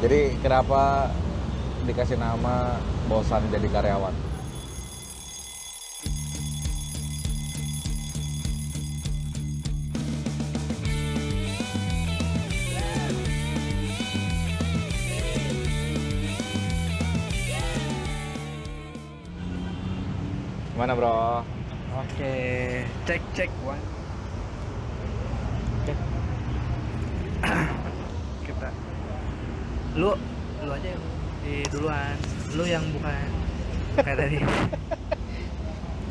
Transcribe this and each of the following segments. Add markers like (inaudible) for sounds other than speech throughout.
Jadi kenapa dikasih nama bosan jadi karyawan? Gimana bro? Oke, cek cek one. Cek. (clears throat) Kita. Lu lu aja yang di duluan. Lu yang bukan kayak tadi.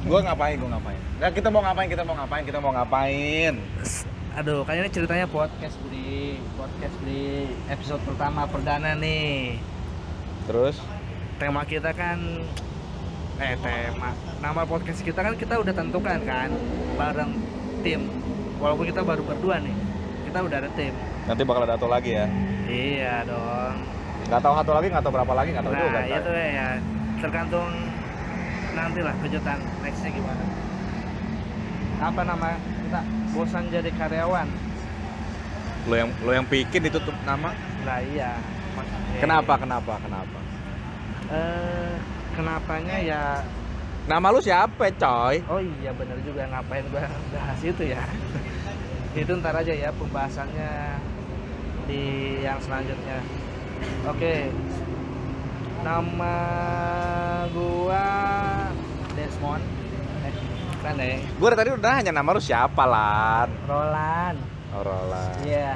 Gue ngapain, gue ngapain? Nah, kita mau ngapain, kita mau ngapain, kita mau ngapain? S- Aduh, kayaknya ini ceritanya podcast Bri, podcast Bri. Episode pertama perdana nih. Terus? Tema kita kan eh tema nama podcast kita kan kita udah tentukan kan bareng tim. Walaupun kita baru berdua nih, kita udah ada tim. Nanti bakal ada satu lagi ya? Iya dong. Nggak tahu satu lagi, nggak tahu berapa lagi, nggak tahu juga. Nah, ntar. itu ya tergantung nantilah kejutan nextnya gimana. Apa nama kita? Bosan jadi karyawan. Lo yang lo yang bikin itu tuh nama? Nah iya. Maksudnya- Kenapa, kenapa, kenapa? Eh, kenapanya ya? Nama lu siapa, coy? Oh iya bener juga ngapain gua bahas itu ya. itu ntar aja ya pembahasannya di yang selanjutnya. Oke. Nama gua Desmond. Eh, keren deh. Gue tadi udah nanya nama lu siapa, Lan? Roland. Oh, Roland. Iya.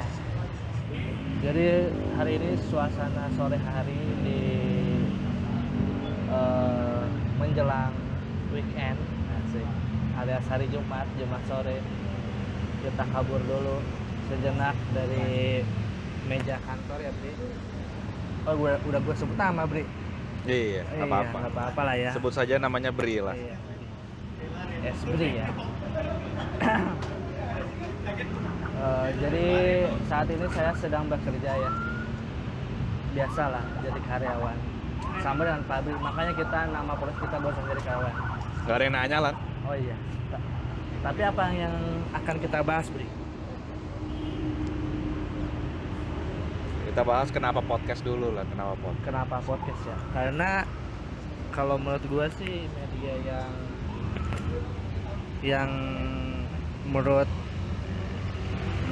Jadi hari ini suasana sore hari di eh, menjelang weekend, asik. alias hari Jumat, Jumat sore. Kita kabur dulu sejenak dari meja kantor ya, Bri. Oh, gua, udah gue sebut nama, Bri. Iya, Iya, nggak apa-apa. nggak apa-apa lah ya. Sebut saja namanya Bri lah. Iya. Espri ya. (coughs) Eh, jadi saat ini saya sedang bekerja ya. Biasalah jadi karyawan. Sama dengan pabrik, makanya kita nama produk kita bosan jadi karyawan. Gak ada yang nanya, Lan. Oh iya. Ta- Tapi apa yang akan kita bahas, Bri? Kita bahas kenapa podcast dulu, Lan. Kenapa podcast? Kenapa podcast ya? Karena kalau menurut gua sih media yang yang menurut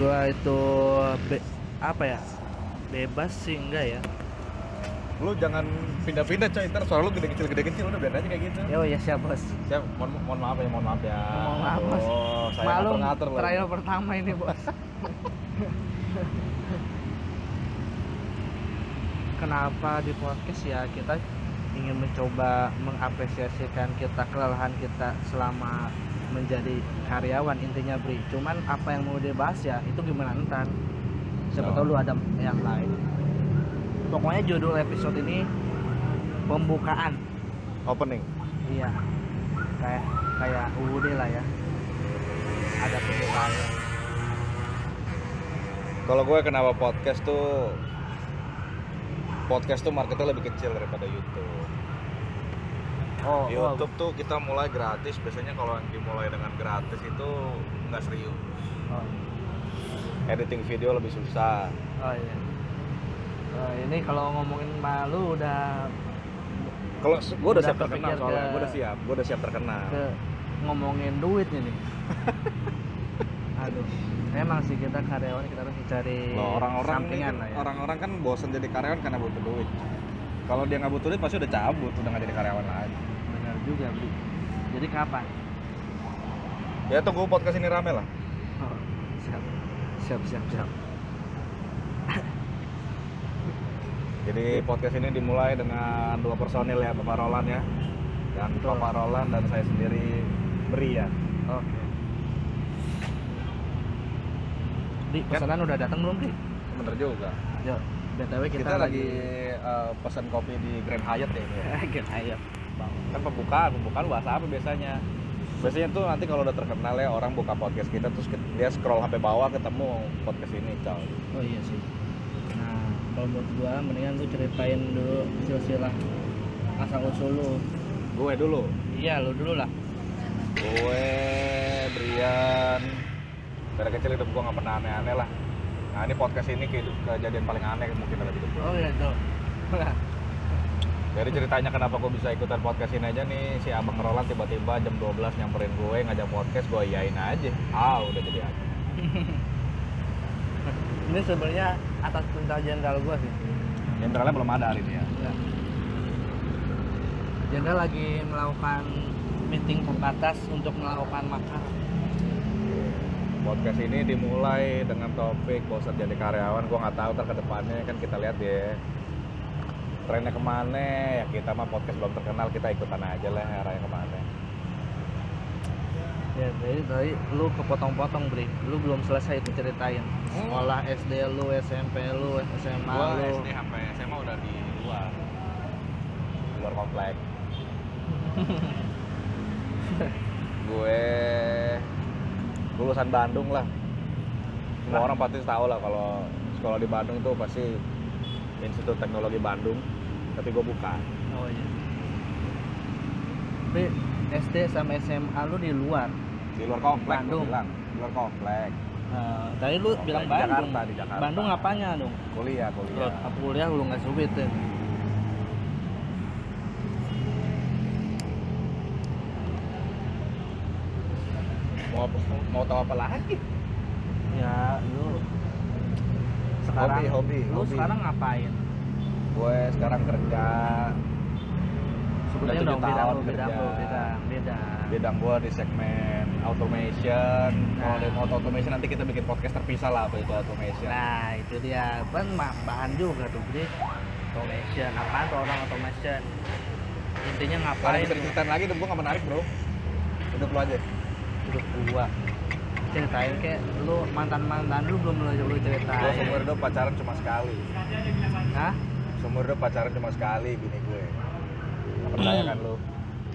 gua itu be- apa ya bebas sih enggak ya? Lu jangan pindah-pindah, coy. Ntar suara lu gede kecil gede kecil udah biar aja kayak gitu. Yo ya siap bos. Siap, mohon, mohon maaf ya, mohon maaf ya. Mohon maaf, Mas. Oh, saya Malum ngatur-ngatur loh. trial pertama ini (laughs) bos. Kenapa di podcast ya kita ingin mencoba mengapresiasikan kita kelelahan kita selama menjadi karyawan intinya Bri. Cuman apa yang mau dibahas ya itu gimana entar. Siapa tahu lu Oh. ada yang lain. Pokoknya judul episode ini pembukaan. Opening. Iya. Kayak kayak UUD lah ya. Ada pembukaan. Kalau gue kenapa podcast tuh podcast tuh marketnya lebih kecil daripada YouTube. Oh, oh, YouTube tuh kita mulai gratis. Biasanya kalau yang dimulai dengan gratis itu nggak serius. oh, Editing video lebih susah. oh, iya. Oh, ini kalau ngomongin malu udah Kalau gue udah Udah siap terkenal kepikir soalnya, ke- gue udah siap, gue udah siap terkenal. ke ngomongin duit (laughs) ini. Aduh, emang sih kita karyawan kita harus mencari Loh, orang-orang nih, sampingan lah ya. orang-orang kan bosan jadi karyawan karena butuh duit. Kalau dia nggak butuh duit pasti udah cabut, udah nggak jadi karyawan lagi. Benar juga, Bri. Jadi kapan? Ya tunggu podcast ini rame lah. Oh, siap. Siap, siap, siap. Jadi podcast ini dimulai dengan dua personil ya, Bapak Roland ya. Dan Betul. Bapak Roland dan saya sendiri beri ya. Oke. Bri, pesanan udah datang belum, Bri? Bener juga. Yo, BTW Kita, kita, lagi, (laughs) eh, pesan kopi di Grand Hyatt ya. ini ya. Kita ayo. (laughs) kan pembukaan, pembukaan bahasa apa biasanya? Biasanya tuh nanti kalau udah terkenal ya orang buka podcast kita terus ke- dia scroll HP bawah ketemu podcast ini coy. Oh iya sih. Nah, kalau menurut gua mendingan lu ceritain dulu silsilah asal usul lu. Gue dulu. Iya, lu dulu lah. Gue Brian dari kecil hidup gue nggak pernah aneh-aneh lah. Nah ini podcast ini kehidup- kejadian paling aneh mungkin dalam hidup gue. Oh iya, tuh. Dari ceritanya kenapa gue bisa ikutan podcast ini aja nih si Abang Roland tiba-tiba jam 12 nyamperin gue ngajak podcast gue iyain aja. Ah udah jadi aja. (laughs) ini sebenarnya atas perintah jenderal gue sih Jenderalnya belum ada hari ini ya. Iya. jenderal lagi melakukan meeting terbatas untuk melakukan makar Podcast ini dimulai dengan topik bosan jadi karyawan. Gue nggak tahu ntar ke depannya kan kita lihat deh trennya kemana ya kita mah podcast belum terkenal kita ikutan aja lah arahnya kemana ya jadi tadi lu kepotong-potong bri lu belum selesai itu ceritain sekolah SD lu SMP lu SMA lu sampai SMA udah di luar luar (laughs) komplek gue lulusan Bandung lah semua orang pasti tahu lah kalau sekolah di Bandung tuh pasti Institut Teknologi Bandung tapi gue bukan oh iya Bri, SD sama SMA lu di luar di luar komplek Bandung. gue bilang di luar komplek Eh, tadi lu Komplek Oh, bilang di Bandung Jakarta, di Jakarta. Bandung apanya dong kuliah kuliah Apa kuliah lu nggak subitin mau mau tahu apa lagi ya lu sekarang Hobi, hobi, lu hobi. sekarang ngapain gue sekarang kerja sebenarnya tujuh dong bidang tahun lu bidang kerja. lu bidang bidang bidang gua di segmen automation kalau Nah. di auto automation nanti kita bikin podcast terpisah lah apa itu automation nah itu dia kan ma- bahan juga tuh Bri automation apaan tuh orang automation intinya kalau ngapain bisa nih? diceritain lagi hidup gua nggak menarik bro hidup lu aja Nah, hidup gua ceritain kayak lu mantan mantan lu belum lu lu gua ceritain seumur hidup pacaran cuma sekali Hah? seumur hidup pacaran cuma sekali bini gue Nggak percaya kan lu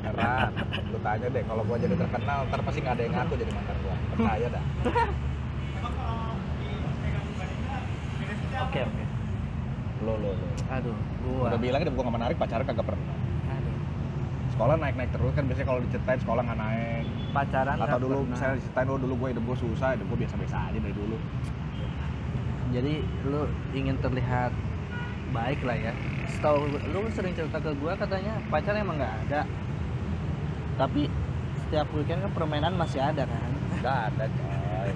Heran, lu tanya deh kalau gua jadi terkenal ntar pasti nggak ada yang ngaku jadi mantan gua percaya dah oke oke lo lo lo aduh gua udah bilang hidup gua nggak menarik pacaran kagak pernah aduh sekolah naik naik terus kan biasanya kalau diceritain sekolah nggak naik pacaran atau nggak dulu pernah. misalnya diceritain oh dulu gue hidup gue susah hidup gue biasa biasa aja dari dulu jadi lu ingin terlihat baik lah ya setahu lu sering cerita ke gua katanya pacar emang nggak ada tapi setiap weekend kan permainan masih ada kan nggak ada coy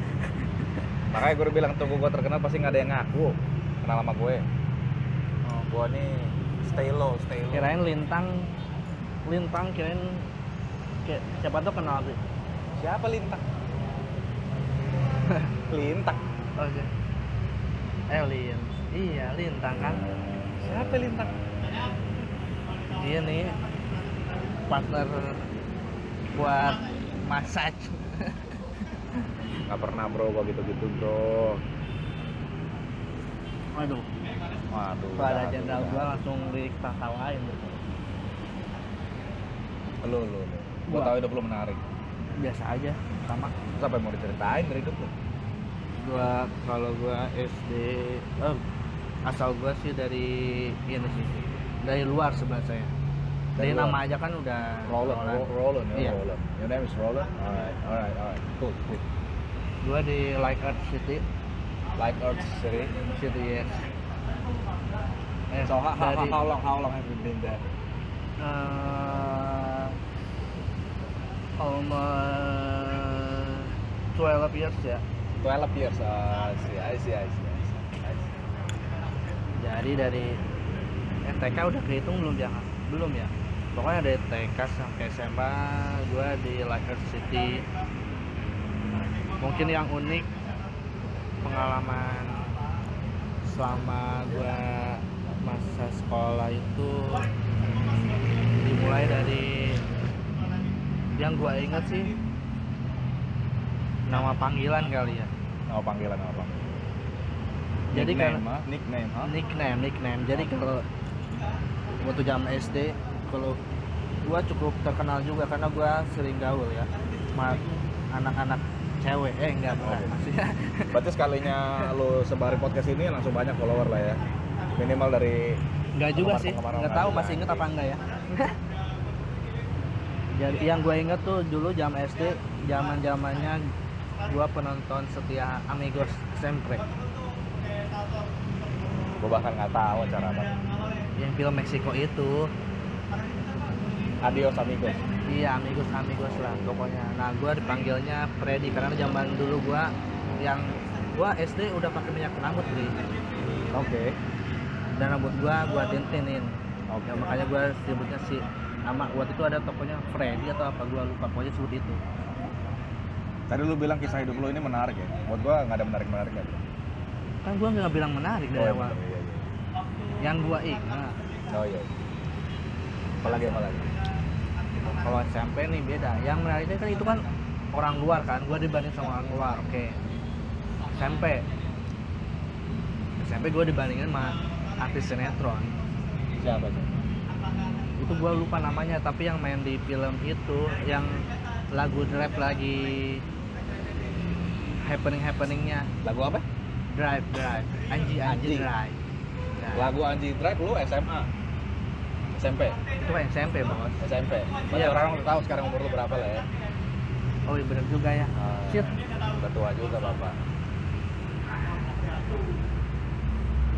makanya gue udah bilang tunggu gue terkenal pasti nggak ada yang ngaku kenal sama gue oh, gue nih stay low stay low kirain lintang lintang kirain kayak siapa tuh kenal sih siapa (laughs) lintang lintang oke eh lin iya lintang kan siapa lintang iya nih partner buat massage nggak pernah bro gue gitu gitu bro waduh waduh pada udah, jenderal udah. gua langsung diketawain lu lu lu gue Gua. tau hidup lu menarik biasa aja sama Terus apa yang mau diceritain dari hidup lu gua kalau gua SD eh, asal gua sih dari ini sih dari luar sebenarnya Dari dari, luar? nama aja kan udah Roland, Roland. Ro- Roland, yeah, Iya. Roland. Your name is Roland. Alright, alright, alright. Cool, cool. gua di Like Earth City Like Earth City. City yes eh, So how, how, dari- how long how long have you been there? eh, almost 12 years ya 12 years. Uh, I see, I see, I see, I see. I see. Jadi dari TK udah kehitung belum ya? Belum ya. Pokoknya dari TK sampai SMA gua di Lakers City. Mungkin yang unik pengalaman selama gua masa sekolah itu dimulai dari yang gua ingat sih nama panggilan kali ya. Oh, panggilan apa? Jadi nickname, ah. kalau- huh? nickname, huh? nickname nickname jadi kalau waktu zaman SD kalau gua cukup terkenal juga karena gua sering gaul ya sama anak-anak cewek eh enggak bukan Oke. maksudnya Berarti sekalinya lu sebarin podcast ini langsung banyak follower lah ya. Minimal dari (laughs) enggak juga Penggemar- sih penggemar enggak orang tahu lain. masih inget apa enggak ya (laughs) Iya. jadi yang gue inget tuh dulu jam SD zaman zamannya gua penonton setia Amigos sempre gua bahkan nggak tahu cara apa. yang film Meksiko itu Adios amigos. iya amigos amigos lah pokoknya nah gue dipanggilnya Freddy karena zaman dulu gue yang gue SD udah pakai minyak rambut Bri. Oke. dan rambut gue gue tintinin Oke. ya makanya gue sebutnya si nama waktu itu ada tokonya Freddy atau apa gue lupa pokoknya sebut itu Tadi lu bilang kisah hidup lu ini menarik ya. Buat gua nggak ada menarik-menariknya. bro. kan gue nggak bilang menarik dari iya, awal bener, iya, iya. yang gue ingat Oh iya. Apalagi apalagi. kalau SMP nih beda yang menariknya kan itu kan orang luar kan gue dibanding sama orang luar oke SMP SMP gue dibandingin sama artis sinetron Siapa sih? itu gue lupa namanya tapi yang main di film itu yang lagu drive lagi happening happeningnya Lagu apa? drive drive anji anji Anji. drive Nah, Lagu Anji Drive lu SMA. SMP. itu kan SMP bos SMP. Berarti Iya. orang udah tahu sekarang umur lu berapa lah ya. oh iya bener juga ya Ah, Shit. Udah tua juga Bapak.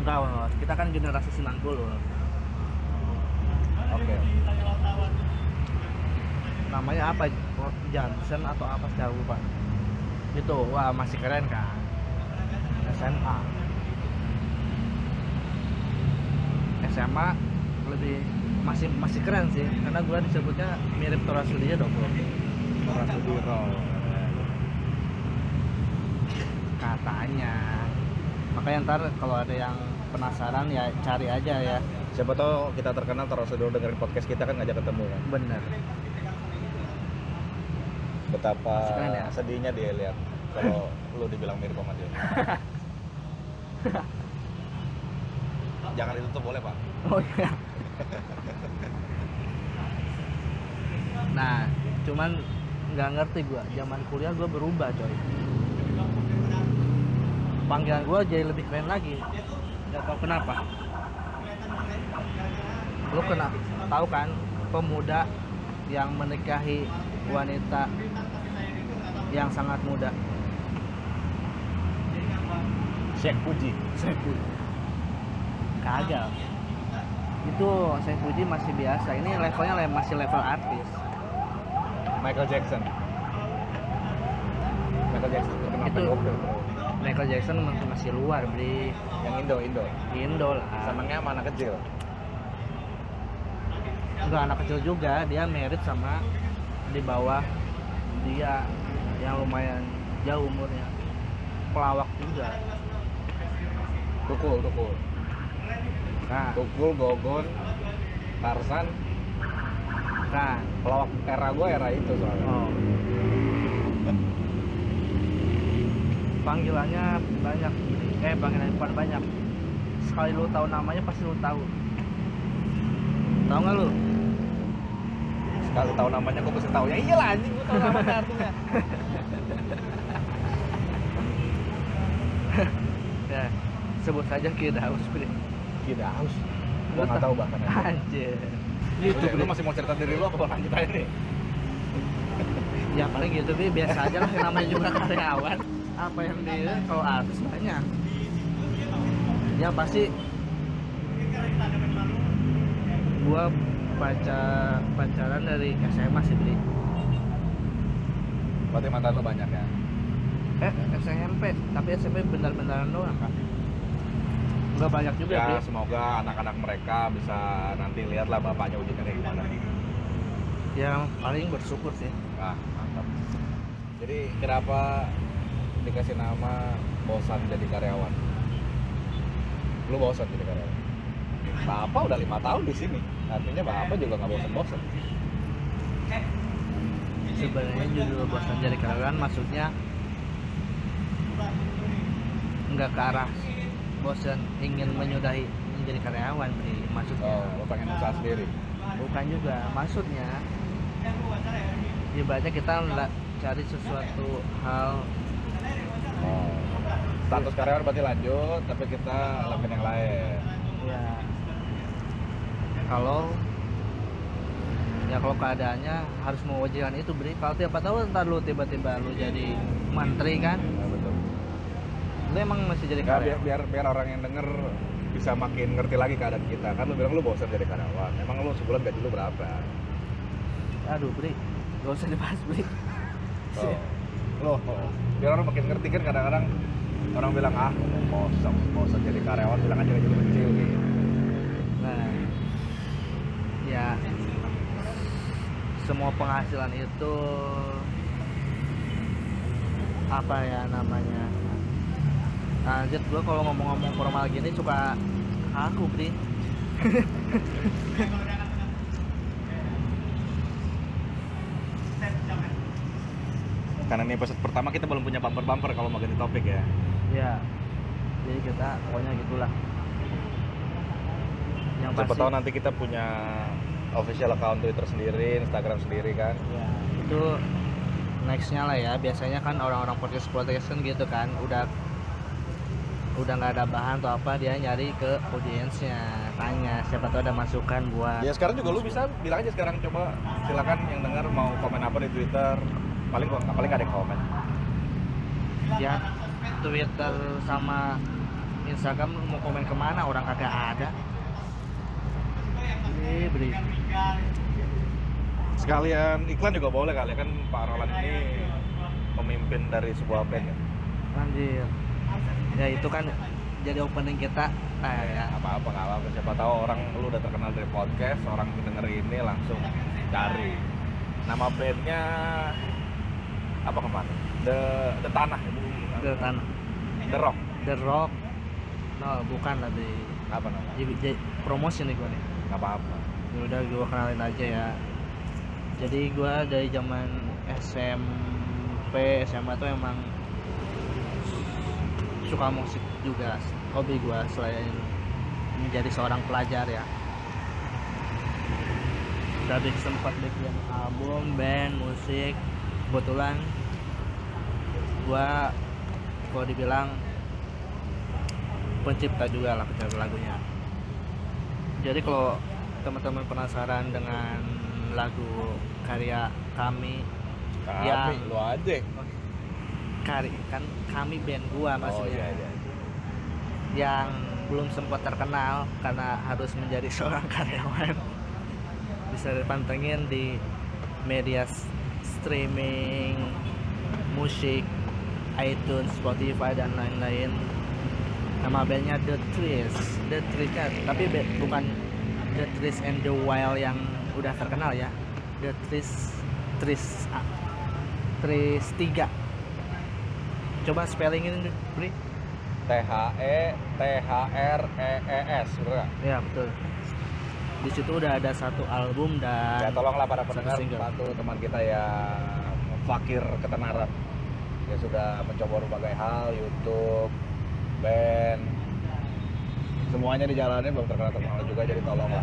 enggak bos kita kan generasi 90 Oke. namanya apa Port Johnson atau apa saya lupa itu wah masih keren kan SMA SMA lebih masih masih keren sih karena gue disebutnya mirip Tora Sudiro dong bro. Orang Sudiro. katanya makanya ntar kalau ada yang penasaran ya cari aja ya Siapa tahu kita terkenal terus dulu dengerin podcast kita kan ngajak ketemu kan. bener Betapa Keren ya? sedihnya dia lihat kalau lu dibilang mirip sama (laughs) dia. Jangan ditutup boleh, Pak. Oh iya. nah, cuman nggak ngerti gua. Zaman kuliah gua berubah, coy. Panggilan gua jadi lebih keren lagi. Gak tau kenapa. Lu kena tahu kan pemuda yang menikahi wanita yang sangat muda. Syekh Puji. Kagak. Itu saya puji masih biasa. Ini levelnya le- masih level artis. Michael Jackson. Michael Jackson terkenal Itu. pedofil. Michael Jackson masih masih luar beli Yang Indo, Indo. Indo lah Senangnya sama anak kecil. enggak anak kecil juga dia merit sama di bawah dia yang lumayan jauh umurnya pelawak juga Tukul, tukul. nah Tukul, Gogon, Tarsan, nah pelawak era gue era itu soalnya. oh panggilannya banyak Bri. eh panggilannya bukan banyak sekali lu tahu namanya pasti lu tahu tahu nggak lu Sekali tahu namanya gue pasti tahu. Ya iyalah anjing gue tahu namanya artinya. ya sebut saja kita harus Tidak haus. Gue nggak tahu bahkan. ya. Ah, Anjir. Gitu, Itu lu Bri. masih mau cerita diri lu apa lanjut aja nih? ya paling gitu Bri. biasa aja lah namanya juga karyawan. Apa yang di kalau artis banyak. Ya pasti gua baca pacaran dari SMA sih Bri. Berarti mantan lu banyak ya? Eh SMP, tapi SMP bentar-bentaran doang kan. Enggak banyak juga ya, Bri. semoga anak-anak mereka bisa nanti lihatlah bapaknya wujudnya kayak gimana. Yang paling bersyukur sih. Ah, mantap. Jadi kenapa dikasih nama bosan jadi karyawan? Lu bosan jadi karyawan? Bapak udah lima tahun di sini, artinya bapak juga nggak bosan-bosan. sebenarnya judul bosan jadi karyawan maksudnya nggak ke arah bosan ingin menyudahi menjadi karyawan Bri. maksudnya Oh, lu pengen usaha sendiri. bukan juga maksudnya ibaratnya kita la- cari sesuatu hal Oh. Status karyawan berarti lanjut, tapi kita lakukan yang lain. ya kalau ya kalau keadaannya harus mewajibkan itu beri kalau tiap tahu ntar lu tiba-tiba lu jadi menteri kan Ya, betul. lu emang masih jadi Nggak, biar, karyawan biar biar orang yang denger bisa makin ngerti lagi keadaan kita kan lu bilang lu bosan jadi karyawan emang lu sebulan gaji lu berapa aduh Bri gak usah dibahas Bri Oh. Tuh. loh biar orang makin ngerti kan kadang-kadang orang bilang ah bosan bosan jadi karyawan bilang aja gaji lu kecil gitu nah ya semua penghasilan itu apa ya namanya Nah, lanjut gue kalau ngomong-ngomong formal gini suka aku Bri karena ini episode pertama kita belum punya bumper bumper kalau mau ganti topik ya ya jadi kita pokoknya gitulah yang siapa pasti tahu nanti kita punya official account Twitter sendiri Instagram sendiri kan ya itu nextnya lah ya biasanya kan orang-orang podcast podcast kan gitu kan udah udah nggak ada bahan atau apa dia nyari ke audiensnya tanya siapa tahu ada masukan buat Ya sekarang juga lu bisa bilang aja sekarang coba silakan yang dengar mau komen apa di Twitter. Paling paling nggak ada yang komen. ya Twitter sama Instagram mau komen kemana orang kagak ada Eh, beri. Sekalian iklan juga boleh kali ya, kan Pak Roland ini pemimpin dari sebuah band ya. Anjir. Ya itu kan jadi opening kita. Nah, ya. Apa-apa nggak apa-apa siapa tahu orang lu udah terkenal dari podcast, orang denger ini langsung cari nama bandnya apa kemarin? The The Tanah. ya, The, Tan- The Rock. kan The Rock. No, bukan lah Bri. Apa namanya? Jadi, jadi promosi nih gue nih. Nggak apa-apa. Ya udah gue kenalin aja ya. Jadi gue dari zaman SMP, SMA tuh emang suka musik juga hobi gue selain menjadi seorang pelajar ya tadi sempat bikin album band musik kebetulan gua kalau dibilang pencipta juga lah pencipta lagunya jadi kalau teman-teman penasaran dengan lagu karya kami Tapi lu aja. kari kan kami band gua Oh iya maksudnya iya. yang belum sempat terkenal karena harus menjadi (laughs) seorang karyawan bisa dipantengin di media s- streaming musik iTunes, Spotify dan lain-lain nama bandnya The Trees The Trees kan tapi be- bukan The Trees and the Wild yang udah terkenal ya The Trees Trees ah, Trees 3 coba spellingin Bri T H E T H R E E S bener nggak? Ya betul. Di situ udah ada satu album Ya dan tolonglah para pendengar Single. bantu teman kita yang fakir ketenaran. Dia sudah mencoba berbagai hal, YouTube, band, semuanya di jalannya belum terkenal terkenal juga jadi tolonglah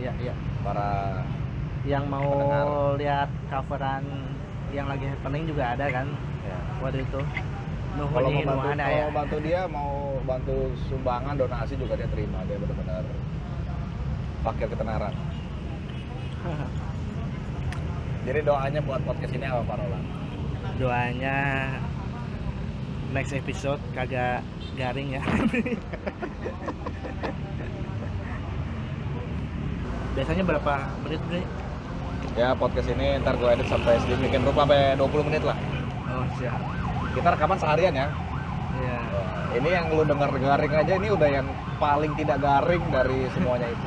ya ya para yang mau Pendengar. lihat coveran yang lagi happening juga ada kan ya. waktu itu. kalau mau Nuhuni bantu, ada kalau ya. mau bantu dia mau bantu sumbangan donasi juga dia terima dia benar-benar fakir ketenaran. Jadi doanya buat podcast ini apa Pak Roland? (laughs) Doanya next episode kagak garing ya. (laughs) Biasanya berapa menit Bri? Ya podcast ini ntar gue edit sampai sedemikian rupa sampai 20 menit lah. Oh siap. Kita rekaman seharian ya. Ya. Ini yang lu denger garing aja ini udah yang paling tidak garing dari semuanya itu.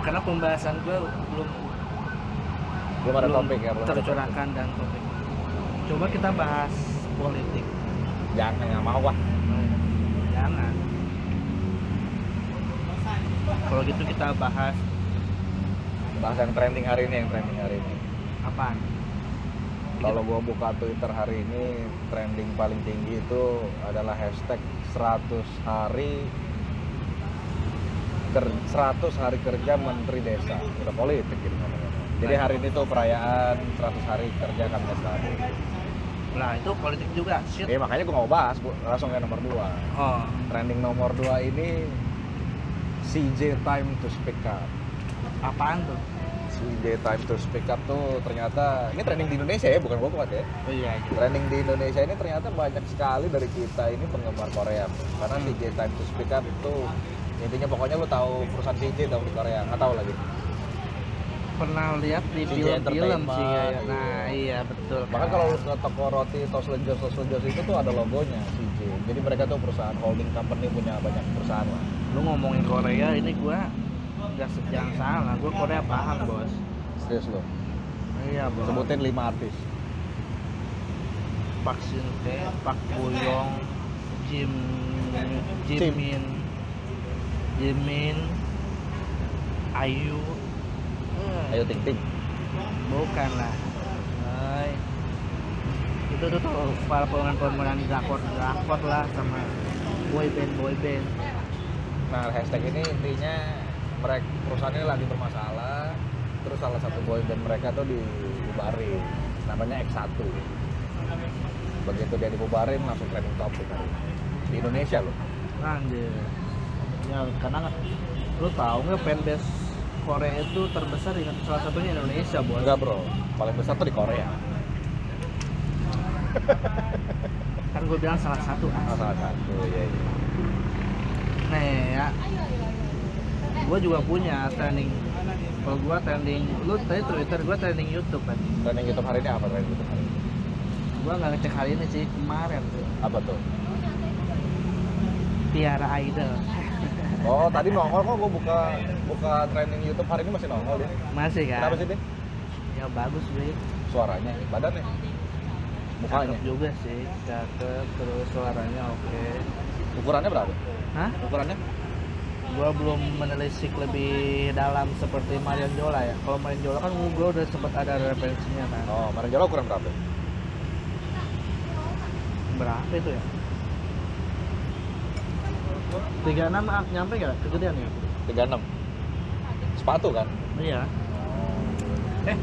Karena pembahasan gue belum Belum ada topik ya, belum ada topik. tercurahkan dan topik. Coba kita bahas politik. Jangan nggak mau wah. Jangan. Kalau gitu kita bahas Bahas yang trending hari ini yang trending hari ini. apaan? Kalau gua buka Twitter hari ini trending paling tinggi itu adalah hashtag 100 hari ker- 100 hari kerja Menteri Desa. Udah politik gitu namanya. Jadi hari ini tuh perayaan 100 hari kerja Kang Desa. Nah itu politik juga. Shit. Ya makanya gue mau bahas, gua langsung ke nomor 2 Oh, Trending nomor 2 ini CJ Time to Speak Up apaan tuh? we time to speak up tuh ternyata ini trending di Indonesia ya bukan gua kuat ya oh iya gitu. trending di Indonesia ini ternyata banyak sekali dari kita ini penggemar Korea karena Hmm. CJ Time to Speak Up itu intinya pokoknya lu tahu perusahaan CJ tahu di Korea nggak tahu lagi pernah lihat di Di film-film sih entertainment, kayak nah iya betul bahkan kalau lu ke toko roti tos lenjos tos lenjos itu tuh ada logonya CJ jadi mereka tuh perusahaan holding company punya banyak perusahaan lah lu ngomongin Korea ini gua nggak se- jangan salah gua Korea paham bos serius lo iya bos sebutin lima artis Park Shin Tae Park Bo Young Jim Jim. Jimin Jimin Ayu Eh, ayo ting ting bukan lah Hai. itu tuh tuh perempuan perempuan drakor drakor lah sama boyband boyband nah hashtag ini intinya mereka perusahaan ini lagi bermasalah terus salah satu boyband mereka tuh dibubarin namanya X1 begitu dia dibubarin langsung trending topic hari ini. di Indonesia loh Anjir. Ya karena nggak- lu tahu nggak fanbase Korea itu terbesar dengan salah satunya Indonesia bos. enggak bro paling besar tuh di Korea Kan gue bilang salah satu. Ah, ah. salah satu ya, ya. Nih ya. Gue juga punya trending. Kalau gue trending, lu tadi Twitter, gue trending YouTube kan. trending YouTube hari ini apa trending YouTube hari ini Gue nggak ngecek hari ini sih kemarin tuh. apa tuh Tiara Idol oh tadi nongol kok gue buka buka trending YouTube hari ini masih nongol ya masih kan? kenapa sih deh Ya bagus sih. suaranya badannya mukanya Cakep juga sih, cakep terus suaranya oke. ukurannya berapa Hah? ukurannya gua belum menelisik lebih dalam seperti Marion Jola ya kalau Marion Jola kan gua udah sempat ada referensinya kan oh Maranjala ukuran berapa berapa itu ya tiga enam ah, nyampe nggak kegedean ya 36 sepatu kan iya eh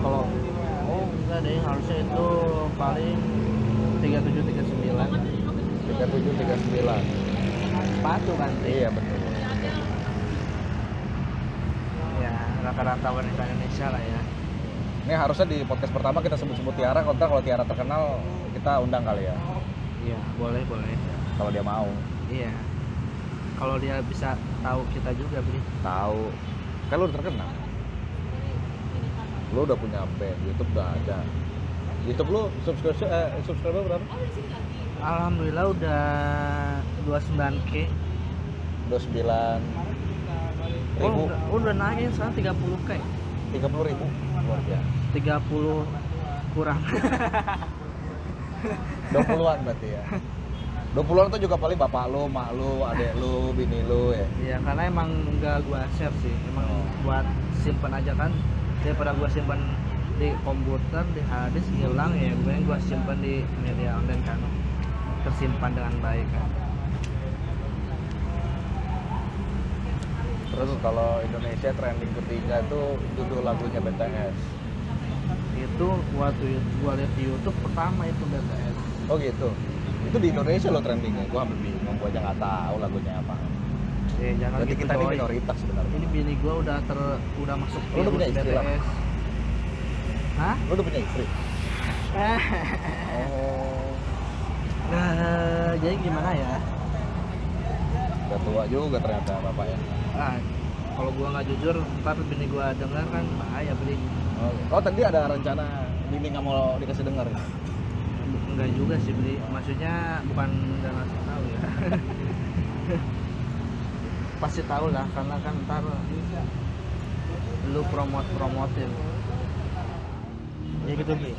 kalau oh enggak deh harusnya itu paling tiga tujuh tiga sembilan 37 39 sepatu kan Tri? iya betul ya rata-rata wanita Indonesia lah ya ini harusnya di podcast pertama kita sebut-sebut Tiara kontra kalau Tiara terkenal kita undang kali ya iya boleh boleh kalau dia mau iya kalau dia bisa tahu kita juga beli tahu kan lu udah terkenal lu udah punya band YouTube udah ada YouTube lu subscribe eh, subscriber berapa Alhamdulillah udah 29k 29 Oh, ribu udah, oh, udah naik sekarang 30k 30 ribu luar biasa 30 kurang 20-an berarti (laughs) ya 20-an tuh juga paling bapak lu, mak lu, adek lu, bini lu ya ya karena emang nggak gua share sih emang Oh. buat simpan aja kan daripada gua simpan di komputer di hadis hilang ya gue gua simpan di media online kan tersimpan dengan baik kan Terus kalau Indonesia trending ketiga itu judul lagunya BTS. itu waktu itu gua lihat di YouTube pertama itu BTS Oh gitu. Itu di Indonesia loh trendingnya. Gua hampir bingung, gua aja nggak tahu lagunya apa. ya jangan Berarti gitu kita ini coy. minoritas sebenarnya. ini bini gua udah ter udah masuk Lu udah punya virus istri, Lam? BTS Hah? Lu udah punya istri? Oh, (laughs) Nah, jadi gimana ya? udah tua juga ternyata bapak ya. Ah, kalau gua nggak jujur, ntar bini gua dengar kan bahaya beli. Oh, oh, tadi ada rencana Bini nggak mau dikasih dengar ya? Enggak juga sih beli. Maksudnya bukan udah ngasih tahu ya. (laughs) Pasti tahu lah, karena kan ntar lu promot promotin. Ya gitu beli.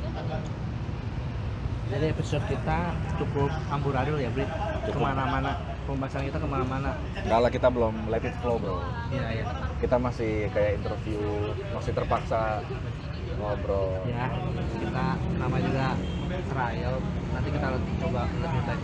Jadi episode kita cukup amburadul ya beli. Cukup. Kemana-mana, pembahasan kita kemana-mana. Enggak lah, kita belum let it flow bro. Iya ya. Kita masih kayak interview, masih terpaksa ngobrol. ya kita nama juga trial nanti kita coba lebih lanjut